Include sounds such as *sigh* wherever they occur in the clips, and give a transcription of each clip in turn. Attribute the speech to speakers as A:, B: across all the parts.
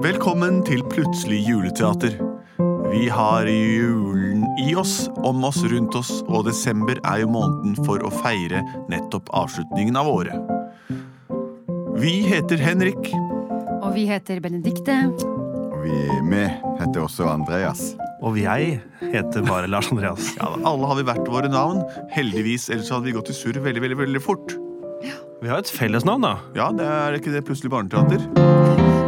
A: Velkommen til Plutselig juleteater. Vi har julen i oss, om oss, rundt oss, og desember er jo måneden for å feire nettopp avslutningen av året. Vi heter Henrik.
B: Og vi heter Benedikte.
C: Og vi med heter også Andreas.
D: Og jeg heter bare Lars Andreas.
A: Ja, alle har vi hvert våre navn. Heldigvis, ellers hadde vi gått i surr veldig, veldig, veldig fort.
D: Vi har et fellesnavn, da.
A: Ja, det er ikke det Plutselig barneteater?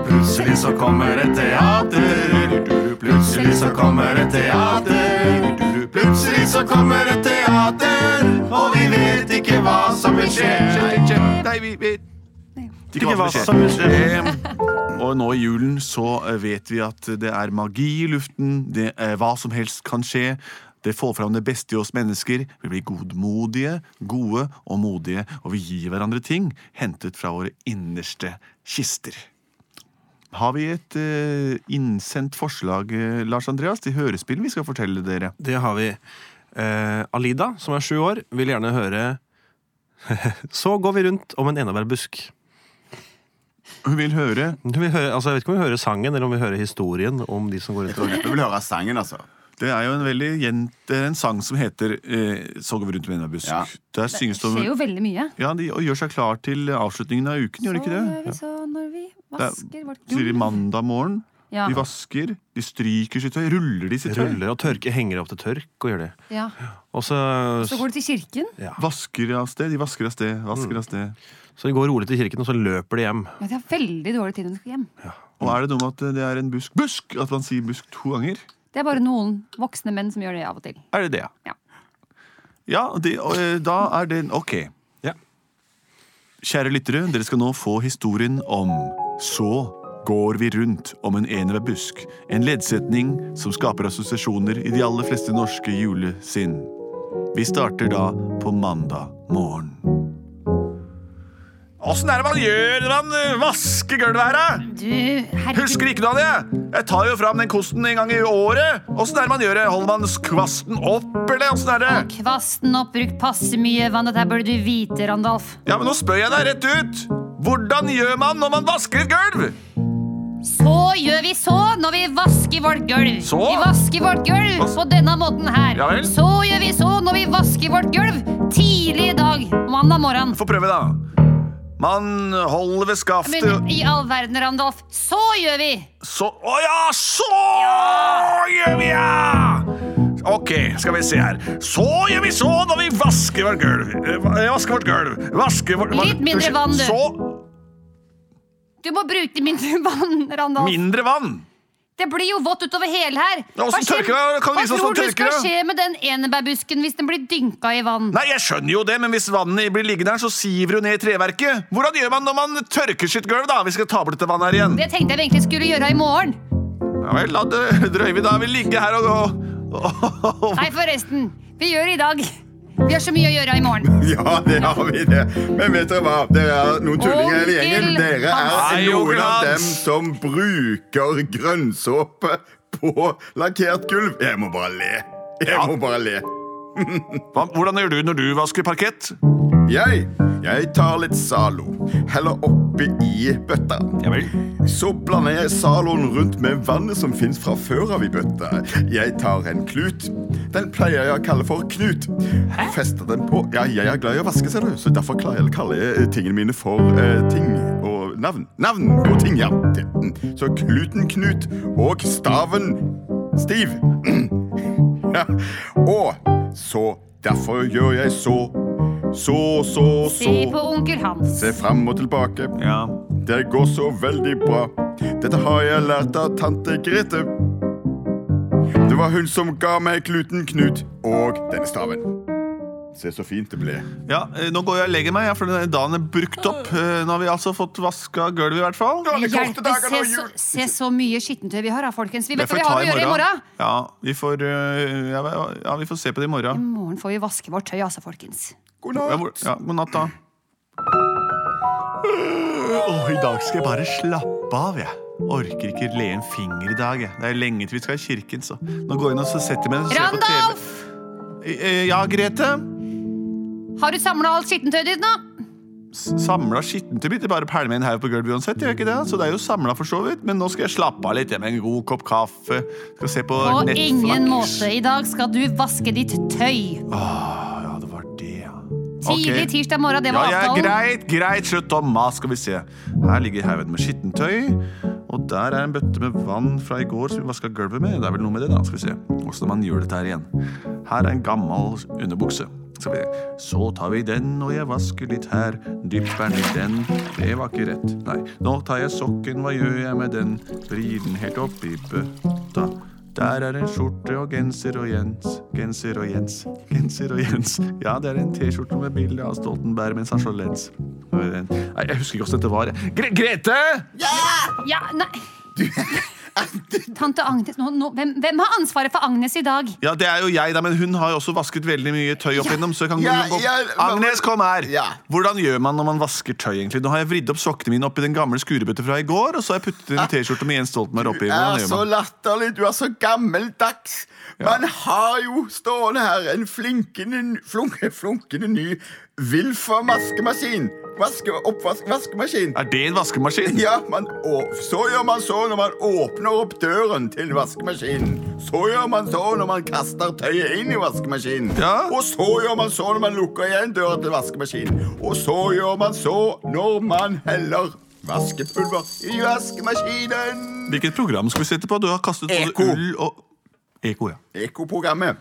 C: Plutselig så kommer et teater. Plutselig så kommer et teater. Plutselig så kommer et teater, og vi vet ikke hva som vil skje.
A: Nei, vi vet
D: Ikke hva som vil skje.
A: Eh, Og nå i julen så eh, vet vi at det er magi i luften. Det er hva som helst kan skje. Det får fram det beste i oss mennesker. Vi blir godmodige, gode og modige. Og vi gir hverandre ting hentet fra våre innerste kister. Har vi et eh, innsendt forslag, eh, Lars Andreas, til hørespill vi skal fortelle dere?
D: Det har vi. Eh, Alida, som er sju år, vil gjerne høre *laughs* Så går vi rundt om en enebærbusk.
A: Hun vil høre
D: Hun vil høre- Altså, jeg vet ikke om vi hører sangen, eller om vi hører historien om de som går rundt *laughs*
C: Jeg tror
D: og
C: neppe vi vil høre sangen, altså.
A: Det er jo en veldig gjent, det er en sang som heter eh, 'Så går vi rundt med en busk'.
C: Ja.
A: Der synges det om
B: skjer jo veldig mye.
A: Ja, de, og gjør seg klar til avslutningen av uken, gjør de ikke
B: Så eh, gjør vi
A: det?
B: så når vi vasker vårt
A: Så sier de
B: gulv.
A: mandag morgen,
B: Ja.
A: de vasker, de stryker sitt tøy, ruller de sitt tøy.
D: ruller og tørker, henger opp til tørk og gjør det.
B: Ja.
D: Og så,
B: Så går du til kirken.
A: Vasker av sted, de vasker av sted, vasker av sted.
D: så de går rolig til kirken, og så løper de hjem.
B: Men de har veldig dårlig tid når de skal hjem.
A: Og er det noe med at det er en busk Busk! At man sier busk to ganger?
B: Det er bare noen voksne menn som gjør det av og til.
A: Er det det,
B: Ja.
A: Ja, det, og eh, da er det Ok.
D: Ja.
A: Kjære lyttere, dere skal nå få historien om Så går vi rundt om en enebærbusk. En leddsetning som skaper assosiasjoner i de aller fleste norske julesinn. Vi starter da på mandag morgen. Åssen er det man gjør når man eh, vasker gulvet her, da?
B: Du, herregud.
A: Husker ikke noe av det? Jeg tar jo fram den kosten en gang i året. Åssen er det man gjør det? Holder man kvasten opp, eller åssen er det?
B: Kvasten oppbrukt passe mye vann. Dette her burde du vite, Randolf.
A: Ja, men nå spør jeg deg rett ut. Hvordan gjør man når man vasker et gulv?
B: Så gjør vi så når vi vasker vårt gulv.
A: Så?
B: Vi vasker vårt gulv
A: Vas-
B: på denne måten her.
A: Ja vel.
B: Så gjør vi så når vi vasker vårt gulv tidlig i dag. Mandag morgen.
A: Få prøve, da. Man holder ved
B: Men
A: skaftet
B: i all verden, Randolf, så gjør vi!
A: Så Å ja, så gjør vi ja! Ok, skal vi se her. Så gjør vi så når vi vasker vårt gulv. Eh, va- eh, Vasker vårt gulv. Vasker vårt
B: Litt
A: Unnskyld,
B: mindre vann, du.
A: Så
B: Du må bruke mindre *laughs* vann, Randolf.
A: mindre vann.
B: Det blir jo vått utover hele her.
A: Ja, hvordan
B: skjer-
A: tørker det? Kan du
B: hva
A: vise oss hvordan
B: tror du
A: tørker
B: skal
A: det?
B: skje med den enebærbusken hvis den blir dynka i vann?
A: Nei, jeg skjønner jo det, men hvis vannet blir liggende her, så siver det jo ned i treverket. Hvordan gjør man når man tørker sitt gulv, da? Vi skal ta bort dette vannet her igjen.
B: Det tenkte jeg vi egentlig skulle gjøre i morgen.
A: Ja vel, la det *laughs* drøye vi da. Vi ligger her og og- og-
B: Nei, forresten. Vi gjør det i dag. Vi har så mye å gjøre i morgen.
C: Ja, det har vi det. Men vet dere hva? Dere er noen tullinger hele gjengen. Dere
A: Hans.
C: er
A: Nei,
C: noen
A: Hans.
C: av dem som bruker grønnsåpe på lakkert gulv. Jeg må bare le. Jeg må bare le.
A: Hva- Hvordan gjør du når du vasker parkett?
C: Jeg, jeg tar litt Zalo, heller oppi i bøtta. Så blander jeg Zaloen rundt med vannet som fins fra før av i bøtta. Jeg tar en klut. Den pleier jeg å kalle for Knut. Fester den på Ja, jeg er glad i å vaske, ser du, så derfor klarer jeg- kaller jeg eh, tingene mine for eh, ting og navn. Navn og ting, ja. Mm. Så kluten Knut og staven Stiv. *clears throat* Ja. Og så Derfor gjør jeg så. Så, så,
B: Se på
C: så.
B: onkel Hans.
C: Se fram og tilbake.
A: Ja.
C: Det går så veldig bra. Dette har jeg lært av tante Grete. Det var hun som ga meg kluten Knut og denne staven. Se så fint det ble.
A: Ja, eh, Nå går jeg og legger meg, ja, for denne dagen er brukt opp. Eh, Nå har vi altså fått vaska gulvet, i hvert fall.
C: Alle korte
B: Hjelpe,
C: dager
B: se,
C: nå,
B: så,
C: jul.
B: se så mye skittentøy vi har, da, folkens. Vi
A: Det
B: vet hva
A: får
B: vi
A: vi ta
B: har å gjøre i morgen.
A: Ja, vi får, eh, ja, ja, vi får se på det i
B: I
A: morgen.
B: morgen får vi vaske vårt tøy, altså, folkens.
C: God
A: Ja, hvor-
C: natt.
A: ja, god natt, da. Åh, I dag skal jeg bare slappe av, jeg. Orker ikke le en finger i dag. jeg Det er lenge til vi skal i kirken. så Nå går jeg inn og så setter jeg meg og ser på TV.
B: Randolf!
A: Eh, Ja, Grete?
B: Har du samla alt skittentøyet ditt nå?
A: samla skittentøy mitt. Jeg bare pælmer en haug på gulvet uansett. gjør jeg ikke det? Så det er jo samla for så vidt. Men nå skal jeg slappe av litt jeg, med en god kopp kaffe. Skal se på
B: På
A: Netflix.
B: ingen måte. I dag skal du vaske ditt tøy.
A: Ja, det var det, ja.
B: Tidlig
A: Ok.
B: tirsdag morgen, det
A: Ja,
B: var
A: ja,
B: avtalen.
A: greit, greit, slutt å mase, skal vi se. Her ligger haugen med skittentøy. Og der er en bøtte med vann fra i går som vi vaska gulvet med. Det er vel noe med det, da. Skal vi se. Åssen man gjør dette her igjen. Her er en gammel underbukse. Skal vi se. Så tar vi den, og jeg vasker litt her. Dypper ned den. Det var ikke rett. Nei. Nå tar jeg sokken, hva gjør jeg med den? Vrir den helt opp i bøtta. Der er en skjorte og genser og Jens. Genser og Jens. Genser og Jens. Ja, det er en T-skjorte med bilde av Stoltenberg mens han slår lens. Nei, jeg husker ikke åssen dette var. Gre Grete!
B: Ja, nei.
A: *laughs*
B: Tante Agnes, nå, nå, hvem, hvem har ansvaret for Agnes i dag?
A: Ja, det er jo jeg, da, men hun har jo også vasket veldig mye tøy opp igjennom. Så jeg kan
C: Ja,
A: gå-
C: ja,
A: Agnes, kom her!
C: Ja.
A: Hvordan gjør man når man vasker tøy, egentlig? Nå har jeg vridd opp sokkene mine oppi den gamle skurebøtta fra i går, og så har jeg puttet en T-skjorte med Jens Stoltenberg oppi.
C: Du
A: Hvordan
C: er
A: gjør
C: så
A: man?
C: latterlig, du er så gammeldags. Man har jo stående her en flinkende, flunke, flunkende ny Wilfer vaskemaskin. Vaske, oppvask, vaskemaskin.
A: Er det en vaskemaskin?
C: *laughs* Ja, man, å- så gjør man så når man åpner opp døren til vaskemaskinen. Så gjør man så når man kaster tøyet inn i vaskemaskinen.
A: Ja.
C: Og så gjør man så når man lukker igjen døra til vaskemaskinen. Og så gjør man så når man heller vaskepulver i vaskemaskinen.
A: Hvilket program skal vi sette på? Du har kastet både
C: Eko.
A: ull og Eko, ja.
C: Ekoprogrammet.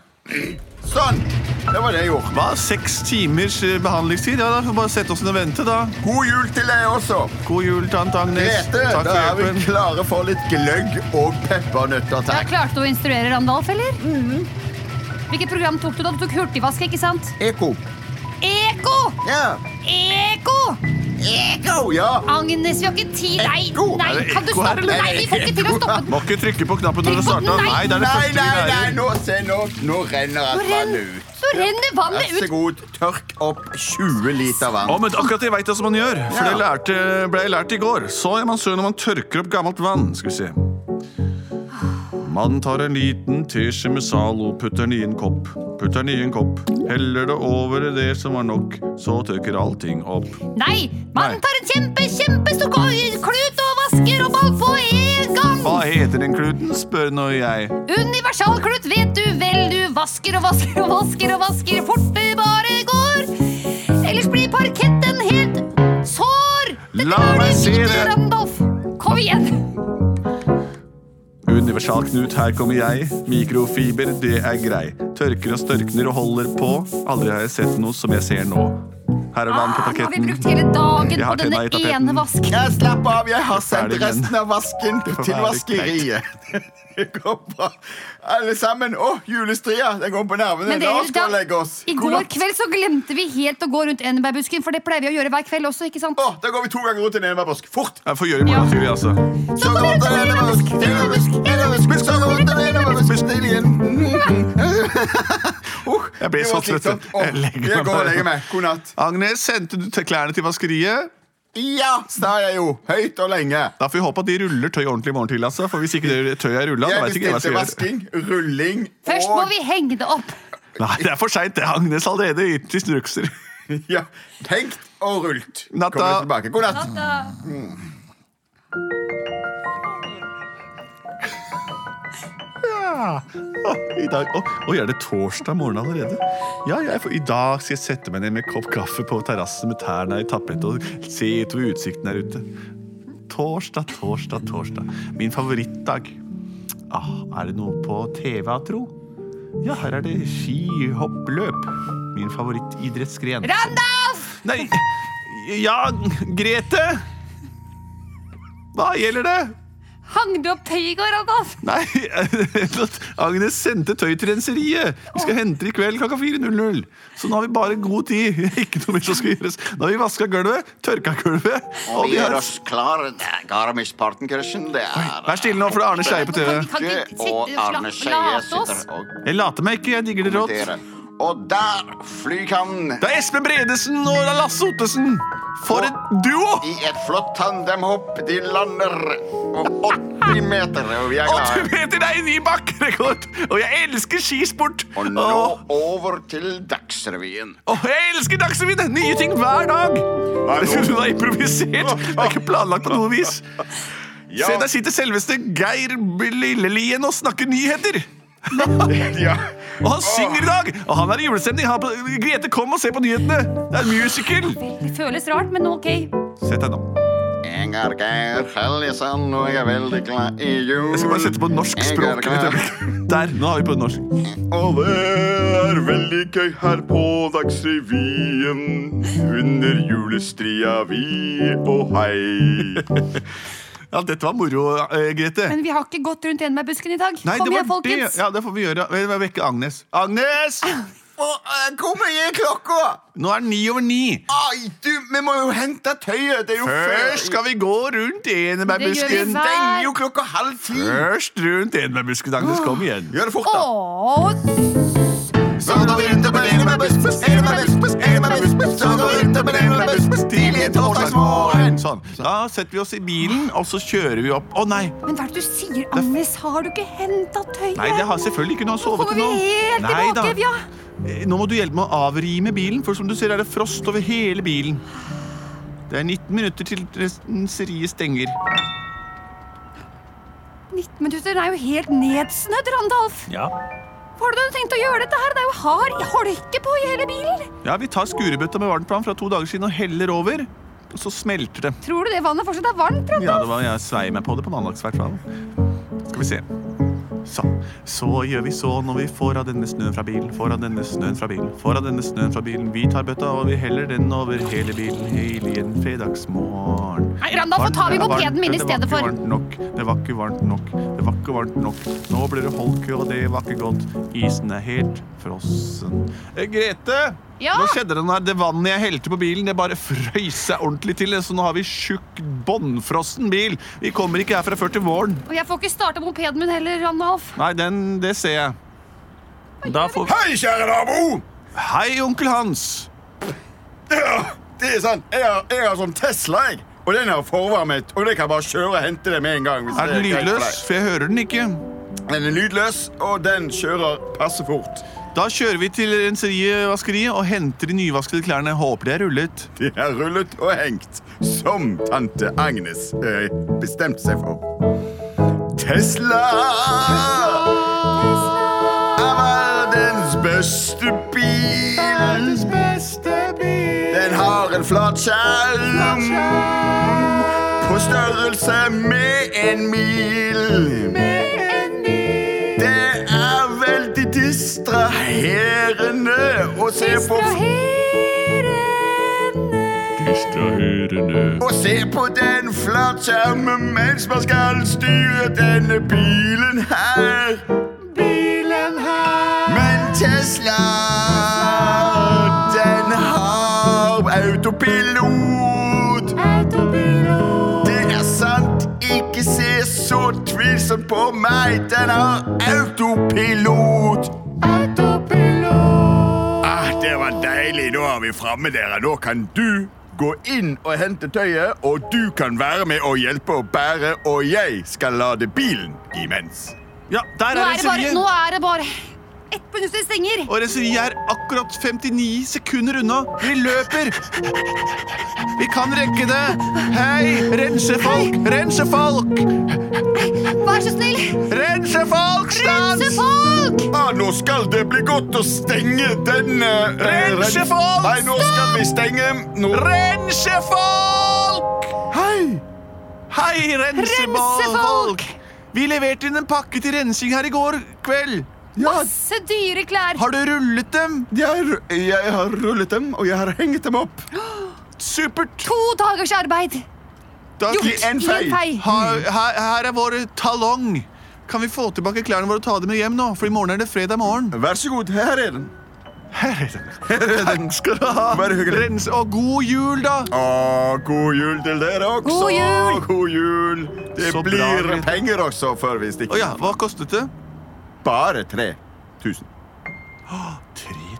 C: Sånn! Det var det jeg gjorde.
A: Hva? Seks timers eh, behandlingstid? Ja, da får vi bare sette oss ned og vente, da.
C: God jul til deg også.
A: God jul, tante Agnes.
C: Grete,
A: Takk
C: da er
A: for
C: vi
A: hjelpen.
C: klare for litt gløgg og peppernøtter.
B: Jeg
C: Takk.
B: klarte å instruere Randolf, eller?
A: Mhm.
B: Hvilket program tok du da? Du tok hurtigvask, ikke sant?
C: Eko.
B: Eko!
C: Ja.
B: Eko!
C: Eko, ja.
B: Agnes, vi har ikke tid. Nei,
C: Eko?
B: nei,
C: Er
A: det
B: kan du
A: eko her,
B: stoppe?
A: eller?
B: Nei, vi får ikke til å stoppe den.
A: Må ikke trykke på knappen når
B: Trykk
A: det
B: på den,
A: starter.
B: nei.
A: Nei, det er det
C: Nei,
A: første
C: nei,
A: vi
C: nei,
A: lærer.
C: nå, se, nå, nå renner
B: Nå
C: alt vann
B: renner,
C: ut.
B: nå renner vannet
C: Vær så
B: ut.
C: god, tørk opp 20 liter vann.
A: Å, men akkurat jeg veit hva man gjør, for
C: Ja.
A: det lærte, ble jeg lært i går. Så gjør man så når man tørker opp gammelt vann. Skal vi se. Man tar en liten teskje med Zalo, putter den i en kopp. Putter den i en kopp. Heller det over i det som var nok. Så tørker allting opp.
B: Nei,
A: Nei.
B: man tar en kjempe, kjempestor ko- klut og vasker opp alt på en gang.
A: Hva heter den kluten, spør nå jeg.
B: Universalklut, vet du vel, du vasker og vasker og vasker og vasker fort det bare går. Ellers blir parketten helt sår. Dette
A: La
B: var
A: meg
B: det
A: se
B: viktige,
A: det.
B: Randolph. Kom igjen.
A: Universalknut, her kommer jeg. Mikrofiber, det er grei. Tørker og størkner og holder på. Aldri har jeg sett noe som jeg ser nå. Her er vann på
B: Ah, nå har vi
A: parketten.
B: brukt hele dagen
A: Jeg
B: på
A: har
B: denne
A: tenna i tapeten.
B: ene vasken.
C: Ja, slapp av, jeg har sendt
A: Ferdig, men-
C: resten av vasken
A: *laughs* får
C: til
A: være
C: vaskeriet. *laughs* Det går bra. Alle sammen. Å, julestria. Den går på nervene.
B: Men
C: La
B: dere,
C: oss gå
B: da-
C: og legge oss.
B: I
C: God
B: går
C: natt.
B: kveld så glemte vi helt å gå rundt enebærbusken, for det pleier vi å gjøre hver kveld også, ikke sant?
C: Å, da går vi to ganger rundt i Nenebergbusk. Fort!
A: Jeg får gjøre i morgen tidlig, altså.
C: Så går vi rundt i Nenebergbusk, Nenebergbusk, Nenebergbusk, så går vi rundt i Nenebergbusk, snill igjen. Uh,
A: Jeg ble
C: det
A: så
C: var
A: trøtt.
C: slitsomt. Å,
A: Jeg legger meg
C: Jeg går
A: bare.
C: og legger meg. God natt.
A: Agnes, sendte du til klærne til vaskeriet?
C: Ja, sa jeg jo. Høyt og lenge.
A: Da får vi håpe at de ruller tøy ordentlig i morgen tidlig, altså. For hvis ikke det tøyet er rulla, da
C: Jeg
A: veit ikke jeg hva jeg
C: bestilte
A: skal gjøre.
C: vasking, rulling
B: Først må
C: og
B: vi henge det opp.
A: Nei, det er for seint. Det er Agnes allerede ute i snurkser.
C: ja, Hengt og rullt.
A: Natta.
C: Kommer tilbake. God natt.
A: Å, *laughs* I dag, å, oi, er det torsdag morgen allerede? Ja, jeg, får- I dag skal jeg sette meg ned med en kopp kaffe på terrassen med tærne i tappet og se utover utsikten her ute. Torsdag, torsdag, torsdag. Min favorittdag. Ah, er det noe på TV, tro? Ja, her er det skihoppløp. Min favorittidrettsgren.
B: Randolph!
A: Nei Ja, Grete! Hva gjelder det?
B: Hang du opp tøy i går, Adolf?
A: Nei, *laughs* Agnes sendte tøy til renseriet. Vi skal hente det i kveld klokka 4.00. Så nå har vi bare god tid. *laughs* Ikke noe mer som skal gjøres. Nå har vi vaska gulvet, tørka gulvet og
E: Vi
A: vi
E: gjør
A: har...
E: oss klare. Det er Garmisch-parten, Kirsten. Det er
A: Vær stille nå, for det er Arne Skeie på TV.
B: Kan ikke sitte og
E: Og Arne
B: slappe-
E: Skeie
B: late oss.
E: sitter og
A: Jeg later meg ikke, jeg digger det rått.
E: kommenterer. Og der flyr han
A: Det er Espen Bredesen og det er Lasse Ottesen! For et duo!
E: i et flott tandemhopp. De lander om 80 meter, og vi er
A: Og
E: glade.
A: du vet det er en ny bakkerekord! Og jeg elsker skisport!
E: Og nå
A: Og,
E: over til Dagsrevyen.
A: og jeg elsker Dagsrevyen! Nye ting hver dag! *laughs* Jeg trodde det var improvisert. Det er ikke planlagt på noe vis.
C: Ja.
A: Se, der sitter selveste Geir Lillelien og snakker nyheter!
C: Ja.
A: Og han synger i dag! Og han er i julestemning. Han er på, Grete, kom og se på nyhetene! Det er en musical!
B: Det føles rart, men ok.
A: Sett deg nå.
E: Jeg er Geir Helgesand, og jeg er veldig glad i jul.
A: Jeg skal bare sette på norsk
E: Jeg er
A: språk.
E: glad-
A: *laughs* Der, nå har vi på norsk.
C: Og det er veldig gøy her på Dagsrevyen. Under julestria vi og hei.
A: *laughs* Ja, dette var moro, eh, Grete.
B: Men vi har ikke gått rundt gjennom med busken i dag.
A: Nei,
B: Kom
A: det
B: igjen,
A: var det.
B: folkens.
A: Ja, det får vi gjøre. Vi må vekke Agnes.
B: *laughs*
A: Agnes!
B: eh,
E: Kom og gi klokka!
A: Nå er det ni over ni.
E: Ai, du, vi må jo hente tøyet. Det er jo
A: Først skal vi gå rundt
B: Det gjør vi
A: enebærbusken.
B: hver-
E: Det er jo klokka halv ti.
A: Først rundt enebærbusken. Agnes, kom igjen.
E: Gjør det fort, da.
B: Åh,
E: Så går vi rundt og beregner med buss, buss, en med buss, buss, en med buss, buss. Så går vi rundt og beregner med buss, buss, tidlig en torsdagsmorgen.
A: Sånn. Da setter vi oss i bilen, og så kjører vi opp. Å nei!
B: men hva er det du sier, Agnes? Har du ikke henta tøyet?
A: Nei, det har selvfølgelig ikke noe å
B: Nå
A: sove
B: kommer
A: til
B: vi
A: nå.
B: helt
A: Nei da.
B: tilbake. Ja.
A: Eh, Nå må du hjelpe meg å avrime bilen, for som du ser er det frost over hele bilen. Det er 19 minutter til resten seriet stenger.
B: 19 minutter er jo helt nedsnødd, Randolf.
A: Ja.
B: Hva har du tenkt å gjøre dette her? Det er jo hard holke på i hele bilen.
A: Ja, Vi tar skurebøtta med varmtvann fra to dager siden og heller over. Og så smelter det.
B: Tror du det vannet fortsatt er varmt, Randolf?
A: Ja, det var Jeg svei meg på det på mandags, i hvert fall. Skal vi se. Sånn. Så gjør vi så når vi får av denne snøen fra bilen, får av denne snøen fra bilen, får av denne snøen fra bilen. Vi tar bøtta, og vi heller den over hele bilen, hele en fredagsmorgen.
B: Nei, Randolf, nå tar vi
A: Varmt, ja, varmt,
B: mopeden min i
A: det var
B: stedet
A: ikke
B: for.
A: varmt nok. Det var ikke varmt nok. Det var ikke varmt nok. Nå blir det holke, og det var ikke godt. Isen er helt frossen. Eh, Grete!
B: Ja?
A: Nå skjedde det noe her. Det vannet jeg helte på bilen, det bare frøys seg ordentlig til. Så nå har vi tjukk, bånnfrossen bil. Vi kommer ikke herfra før til våren.
B: Og jeg får ikke starta mopeden min heller, Randolf.
A: Nei, den, det ser jeg. Da får
C: Hei, kjære nabo!
A: Hei, onkel Hans.
C: Ja, det er sant. Jeg har, jeg har sånn Tesla, jeg. Og den har forvarmet. Og det kan jeg bare kjøre og hente det med en gang. hvis
A: Er den
C: det greit for
A: lydløs? For jeg hører den ikke.
C: deg. Den er lydløs, og den kjører passe fort.
A: Da kjører vi til renseriet vaskeriet og henter de nyvaskede klærne. Håper de er rullet.
C: De er rullet og hengt, som tante Agnes eh, bestemte seg for. Tesla! Er verdens beste bil.
A: beste bil.
C: Den har en flat skjerm på størrelse med en mil. Det er veldig distraherende å se på Å se på den flatskjermen mens man skal styre denne bilen her. Bilen her. Men Tesla, den har autopilot. Autopilot. Det er sant, ikke se så tvilsomt på meg. Den har autopilot. Ah, det var deilig. Nå er vi framme, dere. Nå kan du gå inn og hente tøyet, og du kan være med og hjelpe og bære, og jeg skal lade bilen imens.
A: Ja, der er
B: Nå er det bare,
A: renseriet.
B: nå er det bare ett minutt til det stenger.
A: Og renseriet er akkurat 59 sekunder unna. Vi løper! Vi kan rekke det! Hei, rensefolk! Rensefolk!
B: Vær så snill,
A: Rensefolk,
B: rense
A: stans!
B: folk!
C: Ah, nå skal det bli godt å stenge denne eh, rens-
A: Rensefolk!
C: Nei, nå skal vi stenge nå.
A: Rensefolk! Hei! Hei, rensefolk!
B: Rensefolk!
A: Vi leverte inn en pakke til rensing her i går kveld. Ja,
B: Masse dyre klær.
A: har du rullet dem?
C: Jeg, ru- jeg har rullet dem, og jeg har hengt dem opp.
A: Supert!
B: To dagers arbeid.
A: Da-
B: Gjort.
A: en
B: I
A: feil.
B: en fei.
A: Her, her, her er vår talong. Kan vi få tilbake klærne våre og ta dem med hjem nå? For i morgen er det fredag
B: *laughs*
A: morgen.
C: Vær så god, her er den.
A: Takk skal du ha.
C: Bare hyggelig.
A: Rens, og god jul, da.
C: Å, god jul til dere også.
B: God jul.
C: God jul. Det
A: Så bra,
C: blir
A: Grete.
C: penger også før vi stikker.
A: Å ja, hva kostet det?
C: Bare 3000.
A: 3000.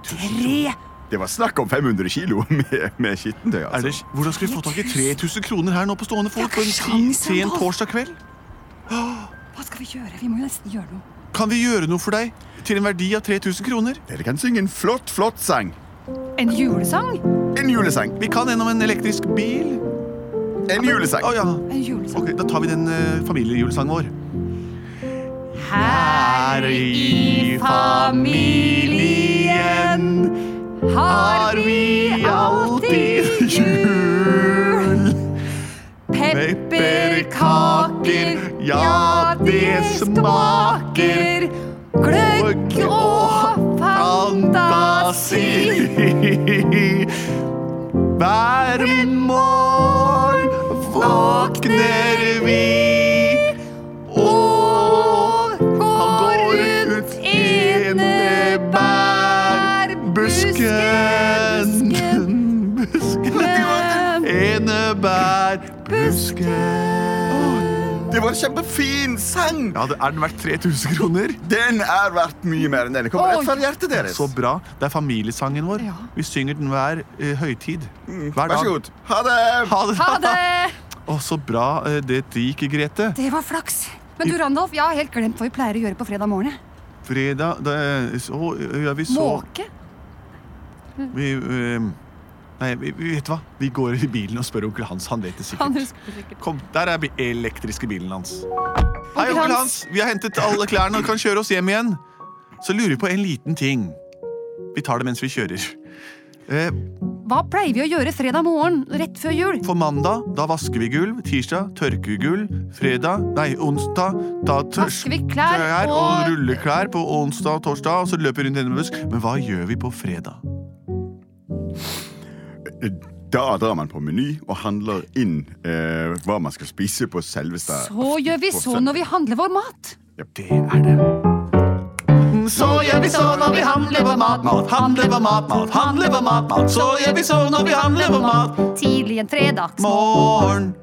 B: Tre.
C: Det var snakk om 500 kilo *laughs* med, med skittentøy.
A: Er
C: Altså.
A: det, hvordan skal vi få tak i 3000 kroner her nå på stående fot?
B: Det er
A: På en ti-
B: ikke sjans,
A: sen
B: Randolph.
A: torsdag kveld?
B: Hva skal vi gjøre? Vi må jo nesten gjøre noe.
A: Kan vi gjøre noe for deg til en verdi av 3000 kroner?
C: Dere kan synge en flott, flott sang.
B: En julesang?
C: En julesang.
A: Vi kan gjennom en elektrisk bil.
C: En julesang.
A: Å ja.
B: En julesang.
A: Ok, da tar vi den eh, familiejulesangen vår.
B: Her i familien har vi alltid jul. Pepperkaker, ja, det smaker. Gløgg og fantasi.
A: Hver morgen våkner vi og
B: Går ut enebærbusken.
A: Busken, busken, enebærbusken.
C: Det var en kjempefin sang.
A: Ja, det er den verdt 3000 kroner.
C: Den er verdt mye mer enn denne. Kommer rett fra hjertet deres.
A: Så bra. Det er familiesangen vår.
B: Ja.
A: Vi synger den hver eh, høytid. Hver
C: Mm. Vær så
A: dag.
C: god. Ha det.
A: Ha det.
B: Ha *laughs* det!
A: *laughs* Å, så bra eh, det gikk, Grete.
B: Det var flaks. Men du, Randolf, jeg har helt glemt hva vi pleier å gjøre på fredag morgen. jeg.
A: Fredag da, eh, så gjør vi så
B: Måke.
A: vi, eh, Nei, vi, vi vet hva. Vi går i bilen og spør onkel Hans. Han vet det sikkert.
B: Han husker det sikkert.
A: Kom, Der er bi- elektriske bilen hans. Hei, onkel Hans. Vi har hentet alle klærne og kan kjøre oss hjem igjen. Så lurer vi på en liten ting. Vi tar det mens vi kjører. Eh,
B: Hva pleier vi å gjøre fredag morgen rett før jul?
A: For mandag, da vasker vi gulv. Tirsdag, tørker vi gulv. Fredag, nei, onsdag, da
B: Vasker vi klær
A: og...
B: og-
A: ruller klær på onsdag og torsdag, og så løper vi rundt denne busk. Men hva gjør vi på fredag?
C: Da drar man på Meny og handler inn eh, hva man skal spise på selveste
B: Så gjør vi så når vi handler vår mat.
A: Det er det. Mm, Så gjør vi så når vi handler vår mat, mat, handler vår mat, mat, handler vår mat, mat. Så gjør vi så når vi handler vår mat.
B: Tidlig en fredags
A: Morgen.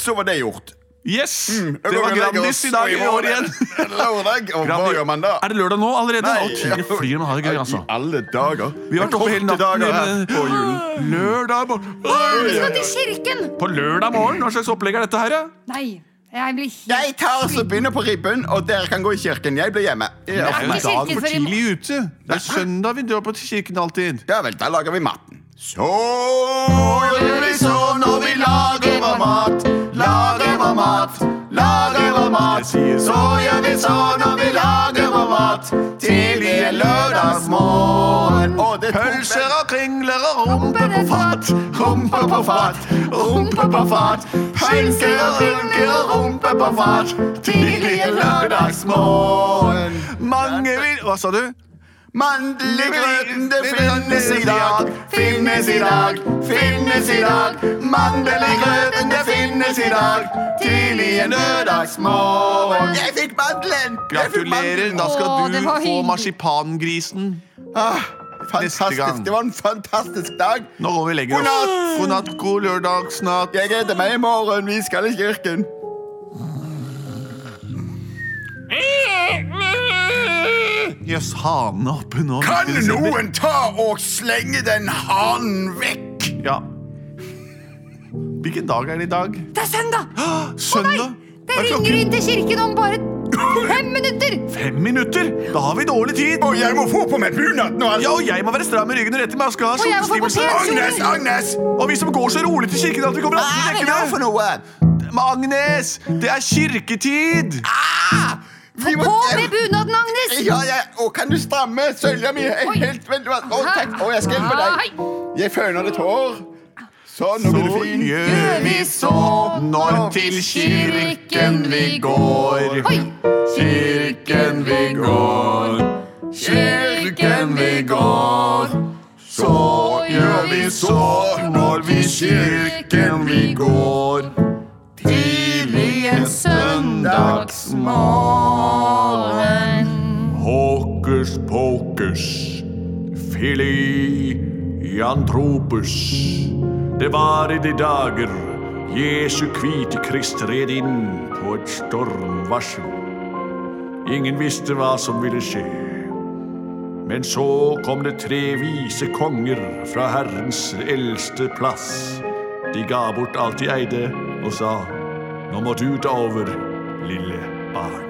C: Så var det gjort.
A: Yes! Det var Grandis i dag i år
C: *laughs*
A: igjen.
C: Lørdag, og hva gjør man da?
A: Er det lørdag nå allerede?
C: Nei.
A: Å, tiden flyr, man har det gøy, altså.
C: I alle dager.
A: Vi har vært oppe hele
C: Korte
A: natten.
C: dager her
A: men-
C: på julen.
A: Lørdag
B: Vi
A: morgen.
B: skal til kirken!
A: På lørdag morgen? Hva slags opplegg er dette her? ja?
B: Nei, jeg blir helt
C: Jeg tar så begynner på ribben, og dere kan gå i kirken. Jeg blir hjemme.
B: Nei,
C: Ja,
A: Det er
B: men
A: jo dagen
B: kirken
A: for
B: for i-
A: tidlig ute. Det er søndag vi drar på til kirken alltid.
C: ja vel, da lager vi maten. Så
A: gjør vi så når vi lager vår mat. Lager vår mat, lager vår mat. Så gjør vi så når vi lager vår mat. Tidlig en lørdagsmorgen.
C: Og det tok-
A: Pølser og kringler og rumpe på fat, rumpe på fat, rumpe på fat. Pølser og kringler og rumpe på fat, tidlig en lørdagsmorgen. Mange vil Hva sa du?
C: Mandelgrøten, det finnes i dag, finnes i dag, finnes i dag. Mandelgrøten, det finnes i dag, tidlig en lørdagsmorgen. Jeg fikk mandelen! Jeg fikk
A: Gratulerer,
C: mandelen.
A: da
B: Åh,
A: skal
B: det
A: du
B: var
A: få
B: hyggelig.
A: marsipangrisen.
C: Ah,
A: Neste gang.
C: fantastisk. Det var en fantastisk dag.
A: Nå går vi og legger oss. God natt, god lørdagsnatt.
C: Jeg gleder meg i morgen. Vi skal i kirken.
A: Jøss, hanene oppe nå.
C: Kan
A: midt i desember.
C: noen ta og slenge den hanen vekk?
A: Ja. Hvilken dag er det i dag?
B: Det er søndag!
A: Søndag?
B: Det
A: Hva er klokken?
B: ringer inn til kirken om bare fem minutter!
A: Fem minutter? Da har vi dårlig tid.
C: Og jeg må få på meg bunaden og alt.
A: Ja, og jeg må være stram i ryggen og rett i meg og skal ha
B: Og jeg må få på
A: skjortestivelse.
B: pen kjole.
C: Agnes, Agnes!
A: Og vi som går så rolig til kirken at vi kommer
C: Hva er
A: alltid
C: det nå for
A: dekkende.
C: noe?
A: Agnes, det er kirketid!
C: Ah! Vi må-
B: På med bunaden, Agnes!
C: Ja, ja. Å, kan du stramme sølja mi er
B: Oi.
C: helt Vent, vent. Å, takk. Å, jeg skal hjelpe
B: Hei.
C: deg. Jeg føner ditt hår. Sånn, nå
A: Så
C: blir du fin.
A: gjør vi så når til kirken vi går.
B: Oi!
A: Kirken vi går, kirken vi går. Så gjør vi så når vi kirken vi går.
C: Til
B: Smålen.
A: Hokus pokus, filiantropus. Det var i de dager Jesu hvite krist red inn på et stormvarsel. Ingen visste hva som ville skje. Men så kom det tre vise konger fra Herrens eldste plass. De ga bort alt de eide, og sa nå må du ta over, lille barn.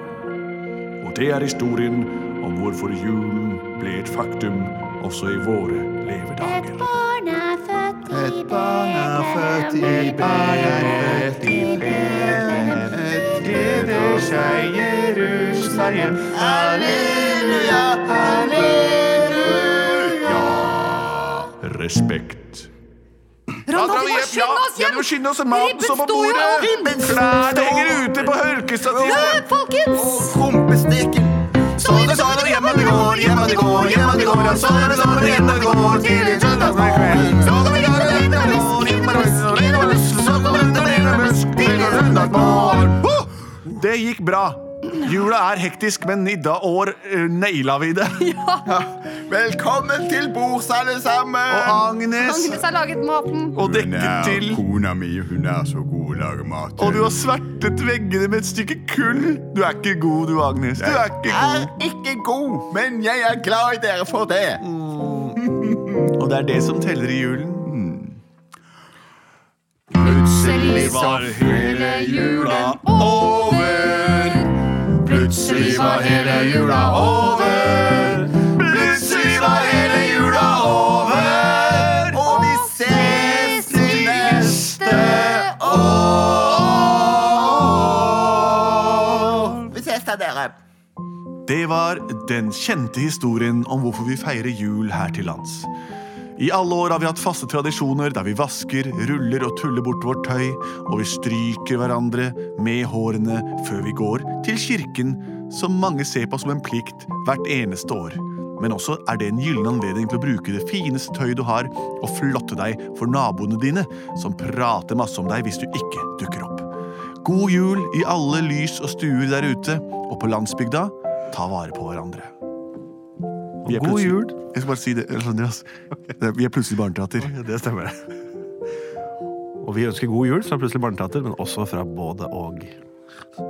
A: Og det er historien om hvorfor julen ble et faktum også i våre levedager.
B: Barn er født i
F: Et barn er født i Beret, i Beret. Gleder seg Jerusalem. Halleluja, halleluja.
A: Respekt.
B: Ronald, vi må skynde oss hjem!
A: skynde oss! Maten
B: Ribben står i ovnen!
A: Klærne henger ute på hørkestativet!
B: Løp, folkens!
F: Rumpestikken. Så det, så det, hjemme det går, hjemme det går, hjemme det går. Så det, så det, hjemme det går, til en søndagsmorgen. Så kan vi gjøre det, det går, hjemme det går, hjemme det går. Så kommer det, det er busk, til en søndagsmorgen.
A: Huh! Det gikk bra. Jula er hektisk, men i da år eh, naila vi det.
C: Velkommen til bords, alle sammen!
A: Og Agnes
B: Agnes har laget maten.
A: og
C: Hun
A: dekket
C: er
A: til.
C: kona mi. Hun er så god å lage mat.
A: Og du har svertet veggene med et stykke kull. Du er ikke god, du, Agnes. Du er ikke
C: er
A: god.
C: ikke god, men jeg er glad i dere for det.
A: Og det er det som teller i julen.
B: Plutselig var hele jula over. Plutselig var hele jula over.
A: Plutselig var hele jula over.
C: Og vi ses i neste år. Vi ses da, dere.
A: Det var den kjente historien om hvorfor vi feirer jul her til lands. I alle år har vi hatt faste tradisjoner der vi vasker, ruller og tuller bort vårt tøy, og vi stryker hverandre med hårene før vi går til kirken, som mange ser på som en plikt hvert eneste år. Men også er det en gyllen anledning til å bruke det fineste tøyet du har, og flotte deg for naboene dine, som prater masse om deg hvis du ikke dukker opp. God jul i alle lys og stuer der ute, og på landsbygda, ta vare på hverandre. Vi er
D: God
A: plutselig-
D: jul.
A: Jeg skal bare si det, ellers skjønner *laughs* jeg, ass. Det er- Vi er plutselig barneteater.
D: Det stemmer, det. Og vi ønsker god jul fra Plutselig barneteater, men også fra både og.